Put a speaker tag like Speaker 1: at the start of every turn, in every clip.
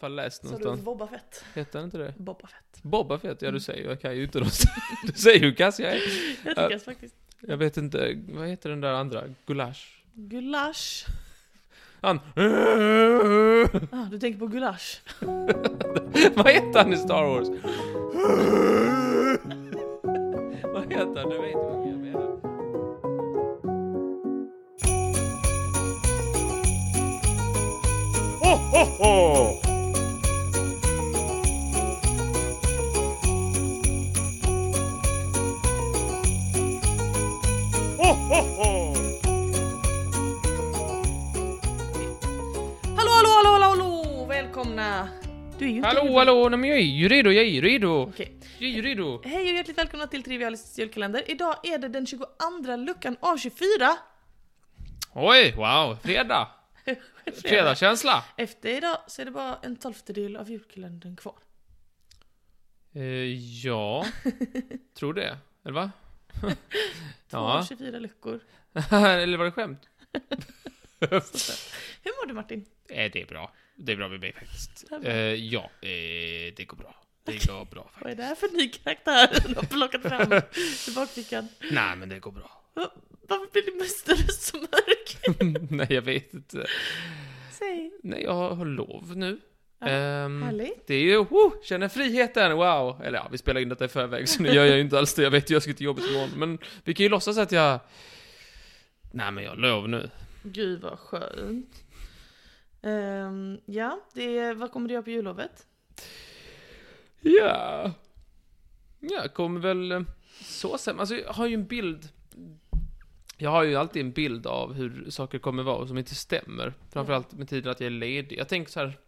Speaker 1: fall läst
Speaker 2: Sa du Mm.
Speaker 1: någonstans.
Speaker 2: Boba Fett?
Speaker 1: Hette han inte det?
Speaker 2: Boba Fett.
Speaker 1: Boba Fett, ja du säger ju, jag kan ju inte dem. Du säger ju hur kass jag är.
Speaker 2: Jag tycker faktiskt.
Speaker 1: Jag vet inte, vad heter den där andra? Gulasch?
Speaker 2: Gulasch.
Speaker 1: Han...
Speaker 2: Ah, du tänker på gulasch.
Speaker 1: Vad heter han i Star Wars? Vad heter han? Du vet vad jag menar.
Speaker 3: Ho, ho, ho! Ho, ho, ho!
Speaker 2: Hallå, hallå, hallå, hallå, hallå! Välkomna! Du är ju inte
Speaker 1: Hallå, hallå! Nej men jag är ju redo, jag är ju redo!
Speaker 2: Okej.
Speaker 1: Jag är ju redo!
Speaker 2: Hej och hjärtligt välkomna till Trivialistisk julkalender. Idag är det den 22 luckan av 24.
Speaker 1: Oj, wow! Fredag! Fredagskänsla!
Speaker 2: Efter idag så är det bara en tolftedel av julkalendern kvar.
Speaker 1: Eh, ja, tror det. Eller va?
Speaker 2: Två
Speaker 1: Ja.
Speaker 2: av 24 luckor.
Speaker 1: Eller var det skämt?
Speaker 2: Hur mår du Martin?
Speaker 1: Eh, det är bra. Det är bra med mig faktiskt.
Speaker 2: Det är bra.
Speaker 1: Eh, ja, eh, det går bra. Det går bra faktiskt.
Speaker 2: Vad är det här för ny karaktär du har plockat fram ur bakfickan?
Speaker 1: Nej, men det går bra.
Speaker 2: Va- Varför blir din röst så mörk?
Speaker 1: Nej, jag vet inte.
Speaker 2: Säg.
Speaker 1: Nej, jag har lov nu.
Speaker 2: Ja,
Speaker 1: Ehm,
Speaker 2: härligt.
Speaker 1: det är ju, oh, känner friheten, wow! Eller ja, vi spelar in detta i förväg så nu gör jag ju inte alls det, jag vet ju jag ska till jobbet imorgon, men vi kan ju låtsas att jag... Nej men jag har lov nu.
Speaker 2: Gud vad skönt. Ehm, ja, det är, vad kommer du göra på jullovet?
Speaker 1: Ja. Jag kommer väl eh, så sen. Alltså jag har ju en bild. Jag har ju alltid en bild av hur saker kommer vara som inte stämmer. Framförallt med tiden att jag är ledig. Jag tänker så här.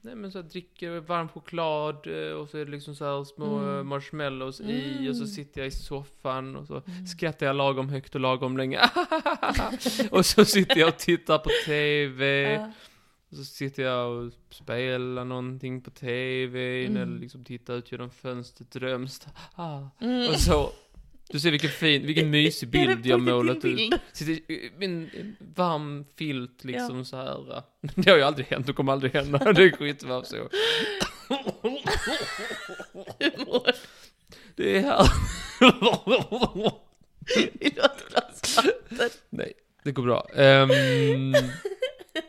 Speaker 1: Nej men så här, dricker varm choklad eh, och så är det liksom så här små
Speaker 2: Mm.
Speaker 1: eh, marshmallows i och så
Speaker 2: Mm.
Speaker 1: sitter jag i soffan och så
Speaker 2: Mm.
Speaker 1: skrattar jag lagom högt och lagom länge. och så sitter jag och tittar på TV.
Speaker 2: Ja.
Speaker 1: Och så sitter jag och spelar någonting på tvn
Speaker 2: Mm.
Speaker 1: eller liksom tittar ut genom fönstret drömst. Ah.
Speaker 2: Mm.
Speaker 1: Och så. Du ser vilken fin, vilken mysig
Speaker 2: Är det
Speaker 1: bild
Speaker 2: på
Speaker 1: jag
Speaker 2: riktigt
Speaker 1: målat
Speaker 2: din
Speaker 1: ut.
Speaker 2: bild?
Speaker 1: Sitter i min varm filt liksom så här. Det har ju aldrig hänt och kommer aldrig hända. Det är skitvarmt så.
Speaker 2: Hur mår du?
Speaker 1: Det är här.
Speaker 2: Vill du ha ett glas vatten?
Speaker 1: Nej, det går bra. Ehm,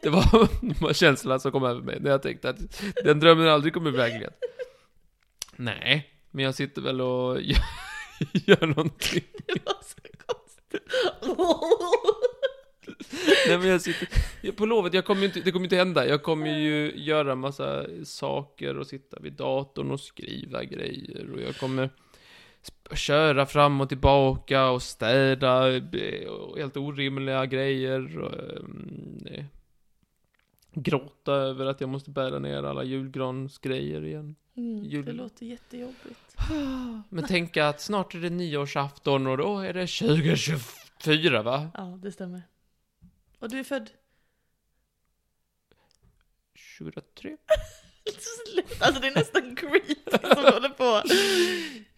Speaker 1: det var det var känslan som kom över mig när jag tänkte att den drömmen aldrig kommer bli verklighet. Nej, men jag sitter väl och gör, gör någonting.
Speaker 2: Det var så konstigt.
Speaker 1: Nej, men jag sitter jag, på lovet. Jag kommer ju inte, det kommer inte hända. Jag kommer ju göra massa saker och sitta vid datorn och skriva grejer och jag kommer sp- köra fram och tillbaka och städa eh, och helt orimliga grejer och ehm, eh, gråta över att jag måste bära ner alla julgransgrejer igen.
Speaker 2: Mm, det
Speaker 1: Jul-
Speaker 2: låter jättejobbigt.
Speaker 1: Men tänka att snart är det nyårsafton och då är det 2024 va?
Speaker 2: Ja, det stämmer. Och du är född?
Speaker 1: 2023?
Speaker 2: Sluta, Alltså det är nästan creepy som håller på.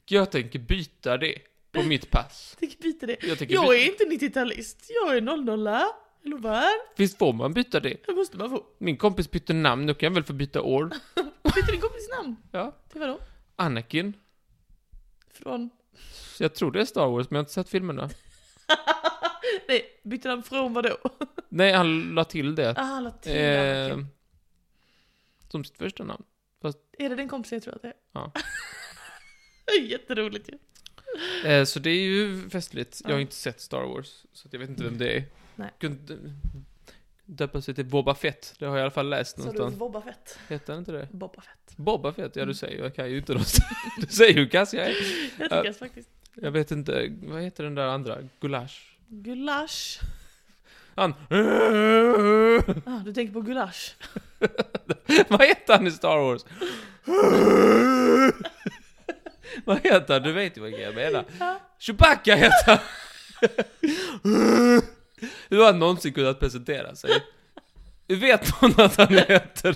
Speaker 1: Jag tänker byta det på
Speaker 2: Mm.
Speaker 1: mitt pass.
Speaker 2: Jag tänker byta det.
Speaker 1: Jag tänker
Speaker 2: Jag
Speaker 1: byta.
Speaker 2: är inte 90-talist, jag är 00 Eller vad är
Speaker 1: Visst får man byta det?
Speaker 2: det? måste man få.
Speaker 1: Min kompis bytte namn, nu kan jag väl få byta år?
Speaker 2: Byter din kompis namn?
Speaker 1: Ja.
Speaker 2: Till vadå?
Speaker 1: Anakin.
Speaker 2: Från?
Speaker 1: Jag tror det är Star Wars, men jag har inte sett filmerna.
Speaker 2: Nej, byter han från vadå?
Speaker 1: Nej, han la till det.
Speaker 2: Ah, latin.
Speaker 1: Eh,
Speaker 2: Eh...
Speaker 1: som sitt första namn.
Speaker 2: Är det den kompisen jag tror att det är?
Speaker 1: Ja.
Speaker 2: Det är Jätteroligt ju.
Speaker 1: Eh, så det är ju festligt. Jag har
Speaker 2: Ja. Mm.
Speaker 1: inte sett Star Wars, så att jag vet inte vem det är.
Speaker 2: Nej.
Speaker 1: Kunde döpa sig till Boba Fett. Det har jag i alla fall läst
Speaker 2: Sa du
Speaker 1: någonstans.
Speaker 2: Boba Fett?
Speaker 1: Hette han inte det?
Speaker 2: Boba Fett. Mm.
Speaker 1: Boba Fett? Ja, du säger. Jag kan ju inte dem. Du säger hur kass jag är.
Speaker 2: Jag tycker faktiskt.
Speaker 1: Jag vet inte, vad heter den där andra? Gulasch?
Speaker 2: Gulasch.
Speaker 1: Han...
Speaker 2: Ah, du tänker på gulasch?
Speaker 1: vad heter han i Star Wars? vad heter han? Du vet ju vad jag menar.
Speaker 2: Ja.
Speaker 1: Chewbacca heter han! Hur har han någonsin kunnat presentera sig? Hur vet någon att han heter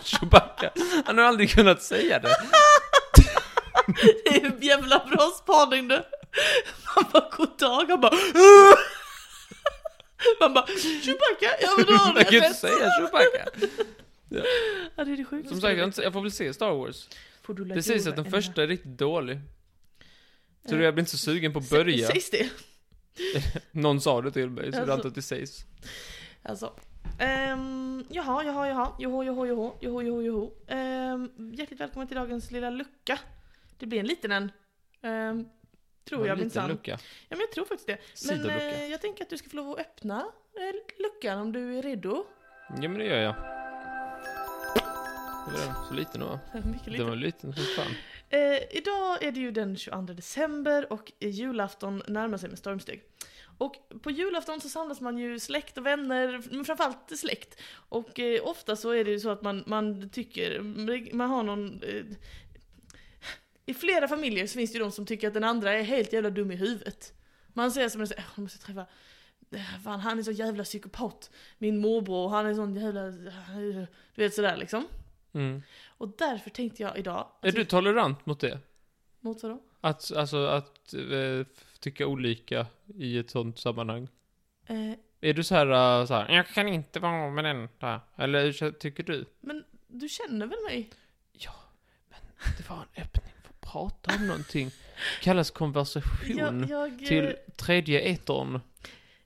Speaker 1: Chewbacca? Han har aldrig kunnat säga det.
Speaker 2: Det är en jävla bra spaning du! Man bara goddag, han bara Man bara Chewbacca, ja men då har du
Speaker 1: Jag kan inte
Speaker 2: rätt!
Speaker 1: säga Chewbacca. Ja.
Speaker 2: Ja, det är det sjukaste.
Speaker 1: Som sagt, jag, har inte- jag får väl se Star Wars.
Speaker 2: Får du lägga
Speaker 1: Det sägs
Speaker 2: ur
Speaker 1: att den
Speaker 2: en-
Speaker 1: första är riktigt dålig. Så
Speaker 2: Eh,
Speaker 1: jag blir inte så sugen på att
Speaker 2: sä-
Speaker 1: börja.
Speaker 2: Sägs det?
Speaker 1: Någon sa det till mig, så det är
Speaker 2: Alltså.
Speaker 1: alltid att det sägs.
Speaker 2: Alltså. Um, jaha, jaha, jaha. Joho, joho, joho. Joho, joho, joho. Ehm, hjärtligt välkommen till dagens lilla lucka. Det blir en liten en. Ehm,
Speaker 1: Det
Speaker 2: tror
Speaker 1: var
Speaker 2: jag
Speaker 1: en liten
Speaker 2: minsann.
Speaker 1: lucka.
Speaker 2: Ja, men jag tror faktiskt det. Men
Speaker 1: Sidolucka.
Speaker 2: eh, jag tänker att du ska få lov att öppna eh, luckan om du är redo.
Speaker 1: Ja, men det gör jag. Det var den, så liten då.
Speaker 2: Mycket
Speaker 1: Den
Speaker 2: lite.
Speaker 1: var liten som fan.
Speaker 2: Eh, idag är det ju den 22 december och eh, julafton närmar sig med stormsteg. Och på julafton så samlas man ju släkt och vänner, men framförallt släkt. Och eh, ofta så är det ju så att man, man tycker, man har någon... Eh, I flera familjer så finns det ju de som tycker att den andra är helt jävla dum i huvudet. Man säger som en sån, "Åh, jag måste träffa... eh, Fan, han är så jävla psykopat. Min morbror, han är sån jävla... eh, Du vet sådär liksom.
Speaker 1: Mm.
Speaker 2: Och därför tänkte jag idag... alltså,
Speaker 1: Är du tolerant mot det?
Speaker 2: Mot vadå?
Speaker 1: Att, alltså, att eh, tycka olika i ett sånt sammanhang?
Speaker 2: Eh,
Speaker 1: Är du så här, eh, så här jag kan inte vara med den där. Eller hur kä- tycker du?
Speaker 2: Men du känner väl mig?
Speaker 1: Det var en öppning för att prata om någonting. Kallas konversation
Speaker 2: Jag, jag, eh,
Speaker 1: till tredje etern.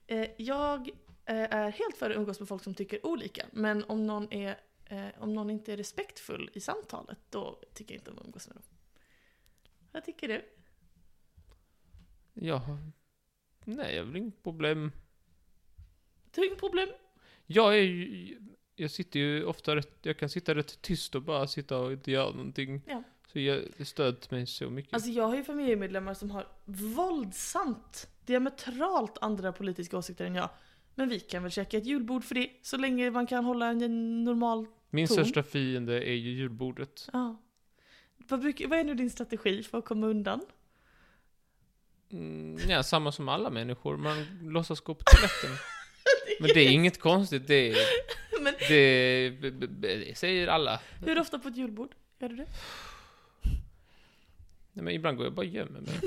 Speaker 2: eh, jag eh, är helt för att umgås med folk som tycker olika. Men om någon, är, eh, om någon inte är respektfull i samtalet, då tycker jag inte om att umgås med dem. Vad tycker du?
Speaker 1: Ja. Nej, jag har väl inget problem.
Speaker 2: Du har inget problem?
Speaker 1: Mm. Jag är ju, jag sitter ju ofta rätt, jag kan sitta rätt tyst och bara sitta och inte göra någonting.
Speaker 2: Ja.
Speaker 1: Så jag, det stöd mig så mycket.
Speaker 2: Alltså jag har ju familjemedlemmar som har våldsamt, diametralt andra politiska åsikter än jag. Men vi kan väl käka ett julbord för det, så länge man kan hålla en normal...
Speaker 1: Min
Speaker 2: ton.
Speaker 1: största fiende är ju julbordet.
Speaker 2: Ja. Vad, brukar, vad är nu din strategi för att komma undan?
Speaker 1: Mm, ja, samma som alla människor. Man låtsas gå på toaletten. Men det är inget konstigt. Det, är,
Speaker 2: Men-
Speaker 1: det, b- b- b- det säger alla.
Speaker 2: Hur ofta på ett julbord gör du det?
Speaker 1: Nej, men ibland går jag bara och gömmer mig.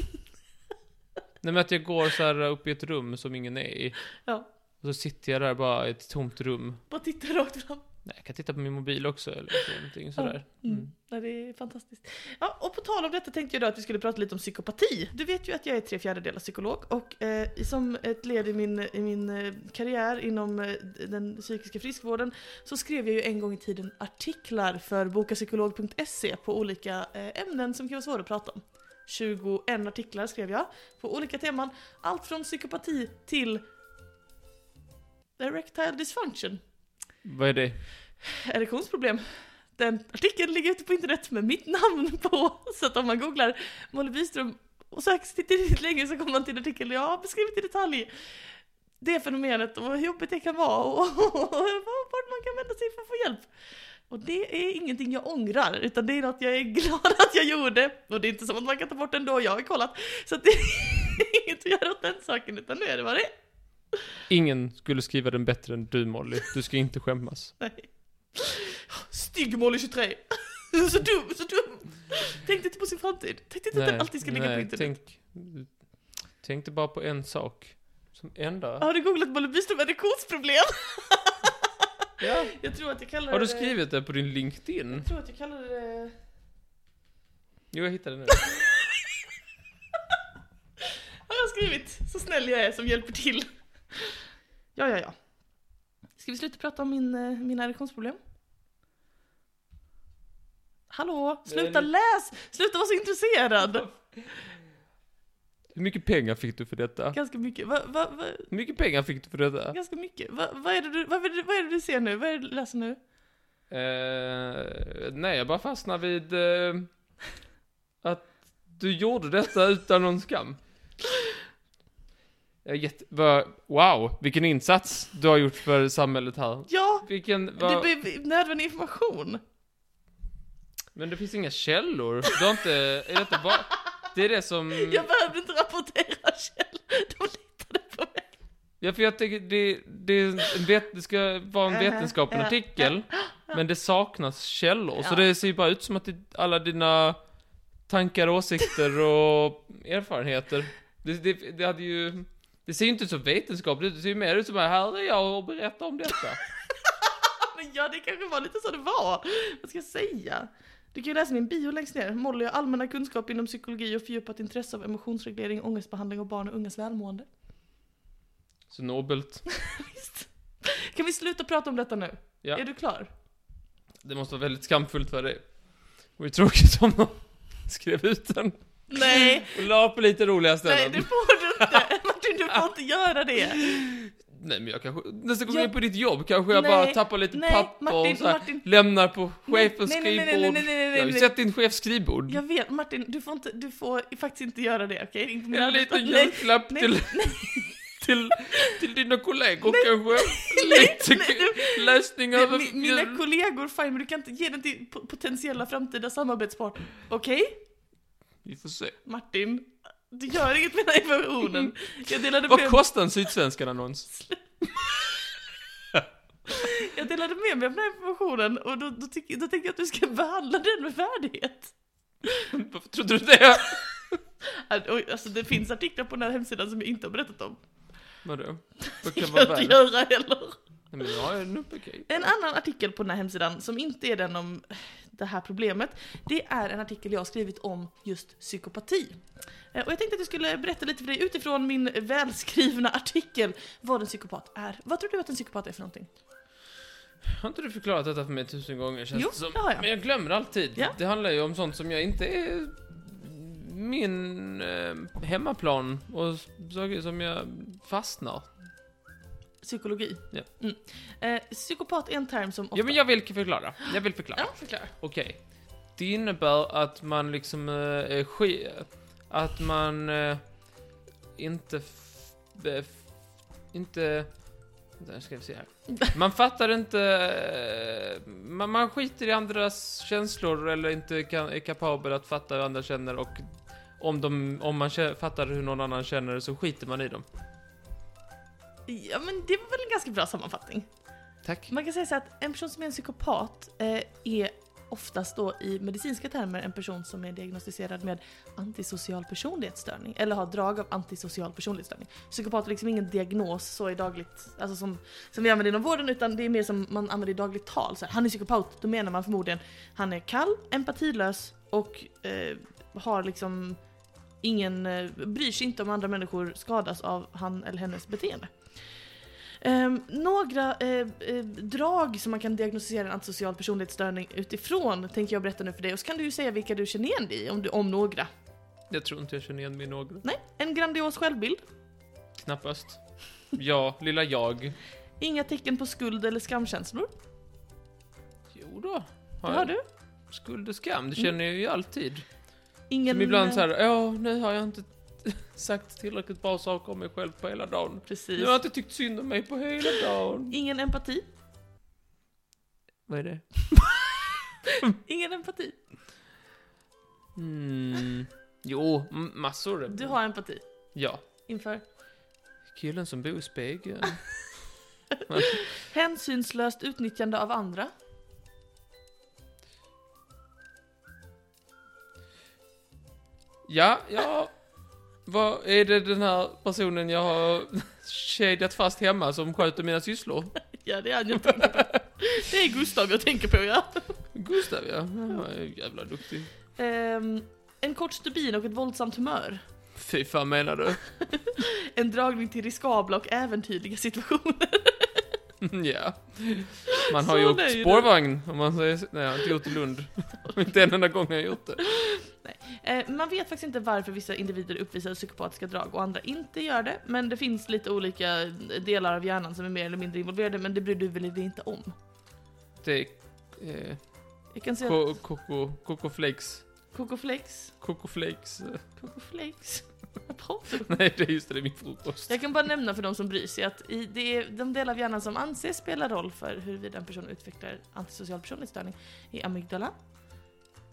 Speaker 1: Nej, men att jag går så här upp i ett rum som ingen är i.
Speaker 2: Ja.
Speaker 1: Och så sitter jag där bara i ett tomt rum.
Speaker 2: Bara titta rakt fram.
Speaker 1: Nej, jag kan titta på min mobil också eller så, någonting sådär.
Speaker 2: Mm.
Speaker 1: Mm.
Speaker 2: Ja, det är fantastiskt. Ja, och på tal om detta tänkte jag då att vi skulle prata lite om psykopati. Du vet ju att jag är tre fjärdedelar psykolog och eh, som ett led i min, i min eh, karriär inom eh, den psykiska friskvården så skrev jag ju en gång i tiden artiklar för bokapsykolog.se på olika eh, ämnen som kan vara svåra att prata om. 21 artiklar skrev jag på olika teman. Allt från psykopati till erectile dysfunction.
Speaker 1: Vad är det?
Speaker 2: erektionsproblem. Den artikeln ligger ute på internet med mitt namn på, så att om man googlar Molly Byström och söker sig tillräckligt länge så kommer man till en artikel jag har beskrivit i detalj. Det fenomenet och hur jobbigt det kan vara och, vart man kan vända sig för att få hjälp. Och det är ingenting jag ångrar, utan det är något jag är glad att jag gjorde. Och det är inte som att man kan ta bort den då, jag har kollat. Så att det är inget att göra åt den saken, utan nu är det vad det är.
Speaker 1: Ingen skulle skriva den bättre än du Molly. Du ska inte skämmas.
Speaker 2: Nej. Stygg Molly 23! så dum, så dum! Tänkte inte på sin framtid. Tänkte inte att den alltid ska ligga på internet.
Speaker 1: tänk, tänkte bara på en sak. Som enda.
Speaker 2: Har du googlat Molly Byström additionsproblem?
Speaker 1: Ja.
Speaker 2: Jag tror att jag kallar
Speaker 1: Har du
Speaker 2: det-
Speaker 1: skrivit det på din LinkedIn?
Speaker 2: Jag tror att jag kallar det...
Speaker 1: Jo, jag hittade det nu.
Speaker 2: Har jag skrivit? Så snäll jag är som hjälper till. Ja, ja, ja. Ska vi sluta prata om min, eh, mina erektionsproblem? Hallå? Sluta
Speaker 1: Nej.
Speaker 2: läs! Sluta vara så intresserad!
Speaker 1: Hur mycket pengar fick du för detta?
Speaker 2: Ganska mycket. Va, va, va,
Speaker 1: Hur mycket pengar fick du för detta?
Speaker 2: ganska mycket. Va, vad, är det du, vad, är det, vad är det du ser nu? Vad är det du läser nu?
Speaker 1: Eh, nej, jag bara fastnar vid eh, att du gjorde detta utan någon skam. Jag är jätte, vad- wow, vilken insats du har gjort för samhället här.
Speaker 2: Ja,
Speaker 1: Vilken,
Speaker 2: det
Speaker 1: vad- Mm.
Speaker 2: blir nödvändig information.
Speaker 1: men det finns inga källor. Du har inte, är detta bara, det är det som,
Speaker 2: Jag behövde inte rapportera själv. De litade på mig.
Speaker 1: ja, för jag tänker, det, det, är en vet, det ska vara en
Speaker 2: Eh,
Speaker 1: vetenskaplig
Speaker 2: eh,
Speaker 1: artikel, men det saknas källor, så
Speaker 2: Ja.
Speaker 1: det ser ju bara ut som att det, alla dina tankar, åsikter och erfarenheter, det, det, det hade ju, det ser ju inte så vetenskapligt ut, det ser ju mer ut som att här är jag och berättar om detta.
Speaker 2: Men men ja, det kanske var lite så det var. Vad ska jag säga? Du kan ju läsa min bio längst ner. Molly har allmänna kunskap inom psykologi och fördjupat intresse av emotionsreglering, ångestbehandling och barn och ungas välmående.
Speaker 1: Så nobelt.
Speaker 2: Visst. Kan vi sluta prata om detta nu?
Speaker 1: Ja.
Speaker 2: Är du klar?
Speaker 1: Det måste vara väldigt skamfullt för dig. Det vore tråkigt om någon skrev ut den
Speaker 2: Nej,
Speaker 1: och la på lite roliga
Speaker 2: nej
Speaker 1: ställen.
Speaker 2: det får du inte. Martin, du får inte göra det.
Speaker 1: Nej, men jag kanske, nästa gång jag
Speaker 2: Jag-
Speaker 1: är på ditt jobb kanske jag
Speaker 2: Nej.
Speaker 1: bara tappar lite
Speaker 2: Nej,
Speaker 1: papper
Speaker 2: Martin,
Speaker 1: och så här,
Speaker 2: Martin.
Speaker 1: lämnar på chefens
Speaker 2: Nej, nej, nej, nej,
Speaker 1: skrivbord.
Speaker 2: nej, nej, nej, nej,
Speaker 1: jag har ju
Speaker 2: nej.
Speaker 1: sett din chefs skrivbord.
Speaker 2: Jag vet, Martin, du får, inte, du får faktiskt inte göra det, okej? Inte på min
Speaker 1: en liten
Speaker 2: arbetsplats. Nej,
Speaker 1: julklapp
Speaker 2: nej,
Speaker 1: till, till, till dina kollegor kanske.
Speaker 2: nej,
Speaker 1: lite
Speaker 2: nej, du-
Speaker 1: läsning
Speaker 2: Det-
Speaker 1: över
Speaker 2: mi- Mina
Speaker 1: jul.
Speaker 2: kollegor, fine, men du kan inte ge den till po- potentiella framtida samarbetspartner. Okej?
Speaker 1: Vi får se.
Speaker 2: Martin, du gör inget med den här informationen. Jag delade
Speaker 1: Vad
Speaker 2: med,
Speaker 1: kostar en Sydsvenskan-annons?
Speaker 2: jag delade med mig av den här informationen och då, då, tyck, då tänker jag att du ska behandla den med värdighet.
Speaker 1: Varför trodde du det?
Speaker 2: Att- oj, Alltså det finns artiklar på den här hemsidan som jag inte har berättat om.
Speaker 1: Vadå? Vad
Speaker 2: Det
Speaker 1: kan
Speaker 2: kan
Speaker 1: vara
Speaker 2: jag inte
Speaker 1: värre?
Speaker 2: göra heller.
Speaker 1: Nej men jag är nog okej.
Speaker 2: En annan artikel på den här hemsidan som inte är den om det här problemet, det är en artikel jag har skrivit om just psykopati. Eh, Och jag tänkte att jag skulle berätta lite för dig utifrån min välskrivna artikel vad en psykopat är. Vad tror du att en psykopat är för någonting?
Speaker 1: Har inte du förklarat detta för mig tusen gånger känns
Speaker 2: Jo,
Speaker 1: det som?
Speaker 2: det har jag.
Speaker 1: Men jag glömmer alltid.
Speaker 2: Ja.
Speaker 1: Det handlar ju om sånt som jag inte är min eh, hemmaplan och saker som jag fastnar.
Speaker 2: Psykologi.
Speaker 1: Ja.
Speaker 2: Mm. Eh, psykopat är en term som ofta...
Speaker 1: Ja men jag vill förklara. Jag vill förklara.
Speaker 2: Ja, förklara.
Speaker 1: Okej. Det innebär att man liksom eh, är ske... Att man eh, inte... F- f- inte... Där ska vi se här. Man fattar inte... eh, Man, man skiter i andras känslor eller inte kan, är kapabel att fatta hur andra känner och om, de, om man kä- fattar hur någon annan känner så skiter man i dem.
Speaker 2: Ja men det var väl en ganska bra sammanfattning.
Speaker 1: Tack.
Speaker 2: Man kan säga så här att en person som är en psykopat eh, är oftast då i medicinska termer en person som är diagnostiserad med antisocial personlighetsstörning eller har drag av antisocial personlighetsstörning. Psykopat är liksom ingen diagnos så i dagligt, alltså som, som vi använder inom vården utan det är mer som man använder i dagligt tal. Så här, han är psykopat, då menar man förmodligen han är kall, empatilös och eh, har liksom ingen, eh, bryr sig inte om andra människor skadas av han eller hennes beteende. Ehm, några eh, eh, drag som man kan diagnostisera en antisocial personlighetsstörning utifrån tänker jag berätta nu för dig och så kan du ju säga vilka du känner igen dig i om, du, om några.
Speaker 1: Jag tror inte jag känner igen mig i några.
Speaker 2: Nej, en grandios självbild,
Speaker 1: Knappast. Ja, lilla jag.
Speaker 2: inga tecken på skuld eller skamkänslor.
Speaker 1: Jo då.
Speaker 2: Det har du.
Speaker 1: Skuld och skam, det känner jag ju alltid.
Speaker 2: Ingen,
Speaker 1: Som ibland så här, Mm. ja nu har jag inte sagt tillräckligt bra saker om mig själv på hela dagen.
Speaker 2: Precis.
Speaker 1: Nu har jag inte tyckt synd om mig på hela dagen.
Speaker 2: Ingen empati.
Speaker 1: Vad är det?
Speaker 2: Ingen empati.
Speaker 1: Mm. Jo, m- massor.
Speaker 2: Du har empati.
Speaker 1: Ja.
Speaker 2: Inför
Speaker 1: Killen som bor i spegeln.
Speaker 2: hänsynslöst utnyttjande av andra.
Speaker 1: Ja, ja. Vad är det den här personen jag har kedjat fast hemma som sköter mina sysslor?
Speaker 2: Ja, det är han jag tänker på. Det är Gustav jag tänker på, ja.
Speaker 1: Gustav ja, han var ju jävla duktig.
Speaker 2: Ehm, en kort stubin och ett våldsamt humör.
Speaker 1: Fy fan menar du?
Speaker 2: En dragning till riskabla och äventyrliga situationer.
Speaker 1: Ja. Man har
Speaker 2: Så
Speaker 1: ju åkt
Speaker 2: nöjd.
Speaker 1: spårvagn, om man säger så. Nej, jag har inte gjort det i Lund. inte en enda gång har jag gjort det.
Speaker 2: Eh, man vet faktiskt inte varför vissa individer uppvisar psykopatiska drag och andra inte gör det, men det finns lite olika delar av hjärnan som är mer eller mindre involverade, men det bryr du väl dig inte om?
Speaker 1: Det är eh,
Speaker 2: Jag kan säga
Speaker 1: ko- koko, koko flakes.
Speaker 2: att Coco Flakes,
Speaker 1: Koko flakes. eh,
Speaker 2: Coco Flakes, vad pratar du om?
Speaker 1: Nej, det är just det, det är min frukost.
Speaker 2: Jag kan bara nämna för de som bryr sig att i det är de delar av hjärnan som anses spela roll för huruvida en person utvecklar antisocial personlighetsstörning är amygdala,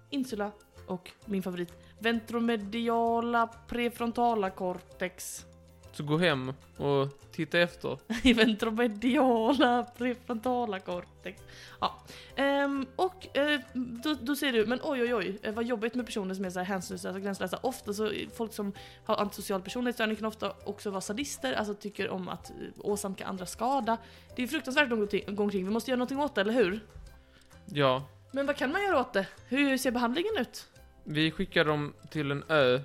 Speaker 2: insula och min favorit, ventromediala prefrontala cortex.
Speaker 1: Så gå hem och titta efter.
Speaker 2: I ventromediala prefrontala cortex. Ja. Ehm, och eh, då, då säger du, men oj oj oj, eh, vad jobbigt med personer som är så här hänsynslösa och gränslösa. Ofta så, är folk som har antisocial personlighetsstörning kan ofta också vara sadister, alltså tycker om att eh, åsamka andra skada. Det är fruktansvärt att gå ti- gå omkring, vi måste göra någonting åt det, eller hur?
Speaker 1: Ja,
Speaker 2: Men vad kan man göra åt det? Hur ser behandlingen ut?
Speaker 1: vi skickar dem till en ö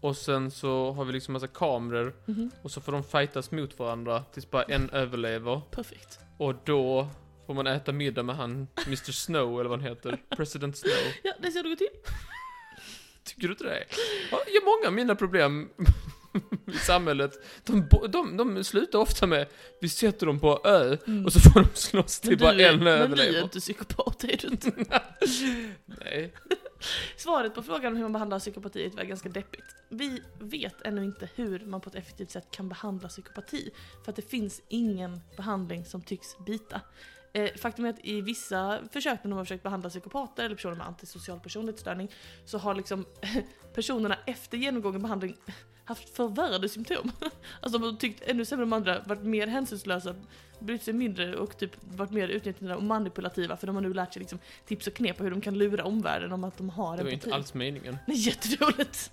Speaker 1: och sen så har vi liksom massa kameror
Speaker 2: Mhm,
Speaker 1: och så får de fightas mot varandra tills bara en överlever
Speaker 2: Perfekt.
Speaker 1: och då får man äta middag med han Mr Snow eller vad han heter, President Snow.
Speaker 2: Ja, det ser det ut till.
Speaker 1: Tycker du inte det? Ja, ja, många av mina problem i samhället, de, bo- de, de slutar ofta med vi sätter dem på ö
Speaker 2: Mm.
Speaker 1: och så får de slåss
Speaker 2: Men
Speaker 1: till bara
Speaker 2: du är-
Speaker 1: en
Speaker 2: Men du är
Speaker 1: överlever.
Speaker 2: inte psykopat, är du inte?
Speaker 1: Nej.
Speaker 2: Svaret på frågan om hur man behandlar psykopati var ganska deppigt. Vi vet ännu inte hur man på ett effektivt sätt kan behandla psykopati, för att det finns ingen behandling som tycks bita. Eh, faktum är att i vissa försök när de har försökt behandla psykopater eller personer med antisocial personlighetsstörning så har liksom personerna efter genomgången behandling haft förvärrade symptom. Alltså de har tyckt ännu sämre om andra, varit mer hänsynslösa, brytt sig mindre och typ varit mer utnyttjande och manipulativa för de har nu lärt sig liksom tips och knep på hur de kan lura omvärlden om att de har
Speaker 1: Det var ju
Speaker 2: empati.
Speaker 1: inte alls meningen.
Speaker 2: Nej, jätteroligt!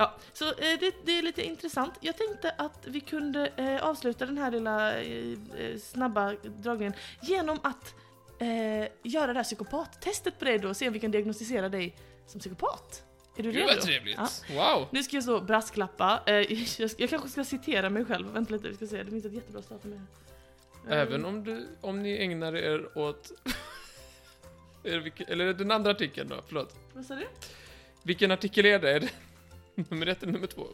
Speaker 2: Ja, så eh, det, det är lite intressant. Jag tänkte att vi kunde eh, avsluta den här lilla eh, eh, snabba dragningen genom att eh, göra det här psykopattestet på dig då och se om vi kan diagnostisera dig som psykopat. Är du
Speaker 1: Det
Speaker 2: redo?
Speaker 1: var trevligt. Wow.
Speaker 2: Nu ska jag så brasklappa. Eh, jag, ska- jag kanske ska citera mig själv. Vänta lite, vi ska se. Det finns ett jättebra citat med. Mm.
Speaker 1: Även om, du, om ni ägnar er åt... är det vilken, eller är det den andra artikeln då? Förlåt.
Speaker 2: Eh, Vad sa du?
Speaker 1: Vilken artikel är det? Är det nummer ett eller nummer två?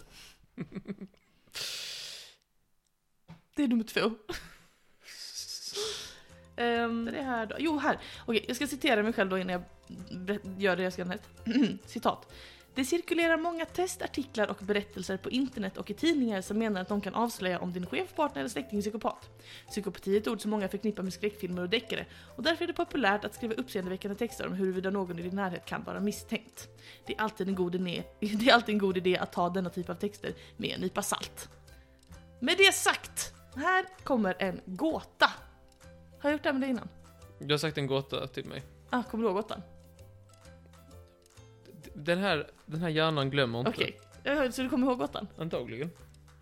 Speaker 2: Det är nummer två. Ehm, det här då. Jo, här. Okej, jag ska citera mig själv då innan jag ber- gör det jag ska näst. Citat. Det cirkulerar många test, artiklar och berättelser på internet och i tidningar som menar att de kan avslöja om din chef, partner eller släkting är psykopat. Psykopati är ett ord som många förknippar med skräckfilmer och deckare och därför är det populärt att skriva uppseendeväckande texter om huruvida någon i din närhet kan vara misstänkt. Det är alltid en god idé, det är alltid en god idé att ta denna typ av texter med en nypa salt. Med det sagt, här kommer en gåta. Har jag gjort det här med dig innan?
Speaker 1: Du har sagt en gåta till mig.
Speaker 2: Ah, kommer du ihåg gåtan?
Speaker 1: D- Den här, den här hjärnan glömmer inte.
Speaker 2: Okej. Eh, Så du kommer ihåg gåtan?
Speaker 1: Antagligen.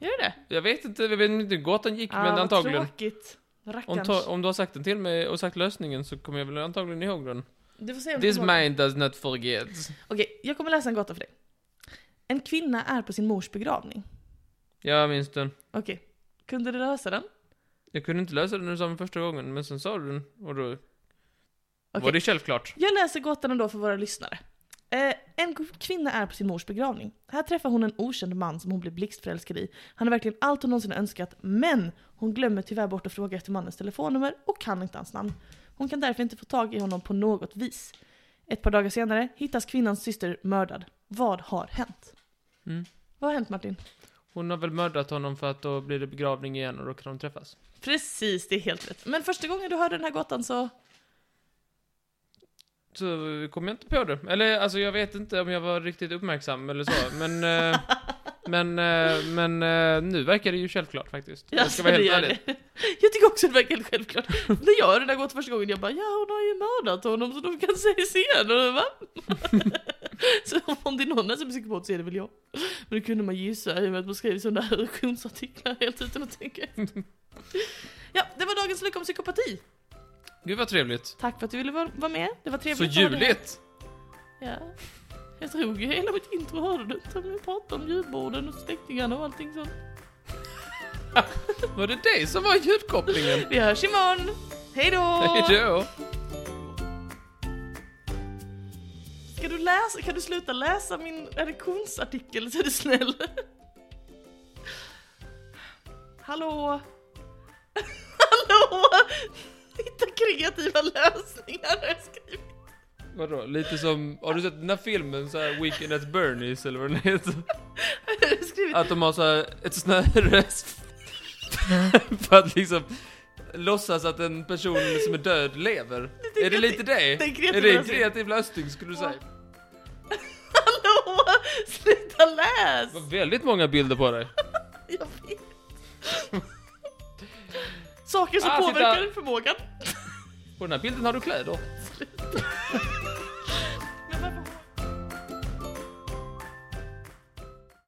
Speaker 2: Gör du det?
Speaker 1: Jag vet inte, jag vet inte hur gåtan gick,
Speaker 2: Ah,
Speaker 1: men
Speaker 2: vad
Speaker 1: antagligen.
Speaker 2: tråkigt.
Speaker 1: Om,
Speaker 2: Rackarns.
Speaker 1: ta, om du har sagt den till mig och sagt lösningen så kommer jag väl antagligen ihåg den.
Speaker 2: Du får se om du
Speaker 1: This
Speaker 2: kommer ihåg.
Speaker 1: mind does not forget.
Speaker 2: Okej, jag kommer läsa en gåta för dig. En kvinna är på sin mors begravning.
Speaker 1: Jag minns den.
Speaker 2: Okej. Kunde du lösa den?
Speaker 1: Jag kunde inte lösa den när du sa den första gången, men sen sa du den och då
Speaker 2: Okej.
Speaker 1: var det självklart.
Speaker 2: Jag läser gåtan ändå för våra lyssnare. Eh, en kvinna är på sin mors begravning. Här träffar hon en okänd man som hon blir blixtförälskad i. Han är verkligen allt hon någonsin önskat, men hon glömmer tyvärr bort att fråga efter mannens telefonnummer och kan inte hans namn. Hon kan därför inte få tag i honom på något vis. Ett par dagar senare hittas kvinnans syster mördad. Vad har hänt?
Speaker 1: Mm.
Speaker 2: Vad har hänt Martin?
Speaker 1: Hon har väl mördat honom för att då blir det begravning igen och då kan de träffas.
Speaker 2: Precis, det är helt rätt. Men första gången du hörde den här gåtan så...
Speaker 1: Så eh, kom jag inte på det. Eller alltså jag vet inte om jag var riktigt uppmärksam eller så, men... eh, men, eh, men eh, nu verkar det ju självklart faktiskt. Jag
Speaker 2: Alltså,
Speaker 1: ska vara
Speaker 2: det
Speaker 1: helt
Speaker 2: gör
Speaker 1: ärlig.
Speaker 2: det. Jag tycker också det verkar helt självklart. När jag hörde den där gåtan första gången, jag bara ja hon har ju mördat honom så de kan ses igen. Och jag bara, så om det är någon som är psykopat så är det väl jag. Men det kunde man gissa i och med att man skrev sådana här reaktionsartiklar helt utan att tänka efter. Ja, det var dagens lucka om psykopati.
Speaker 1: Gud vad trevligt.
Speaker 2: Tack för att du ville vara vara med. Det var
Speaker 1: Så
Speaker 2: trevligt att ha dig här.
Speaker 1: ljuvligt!
Speaker 2: Ja. Jag drog ju hela mitt intro, hörde du inte? Vi pratade om julborden och släktingarna och allting sånt.
Speaker 1: Var det dig som var ljudkopplingen?
Speaker 2: Vi hörs imorgon! Hej då!
Speaker 1: Hejdå!
Speaker 2: Ska du läsa, kan du sluta läsa min redaktionsartikel så är du snäll? Hallå? Hallå? Hitta kreativa lösningar har jag skrivit.
Speaker 1: Vadå? Lite som, har du sett den här filmen så här Weekend at Bernies eller vad den heter?
Speaker 2: Jag har skrivit.
Speaker 1: Att de har så här ett snöre för att liksom låtsas att en person som är död lever.
Speaker 2: är
Speaker 1: Är det lite det?
Speaker 2: det är en kreativ
Speaker 1: Är det en
Speaker 2: lösning.
Speaker 1: kreativ lösning skulle du säga?
Speaker 2: Hallå? Sluta läs!
Speaker 1: Det var väldigt många bilder på dig.
Speaker 2: Jag vet. saker som
Speaker 1: Ah, titta.
Speaker 2: påverkar förmågan.
Speaker 1: På den här bilden har du kläder.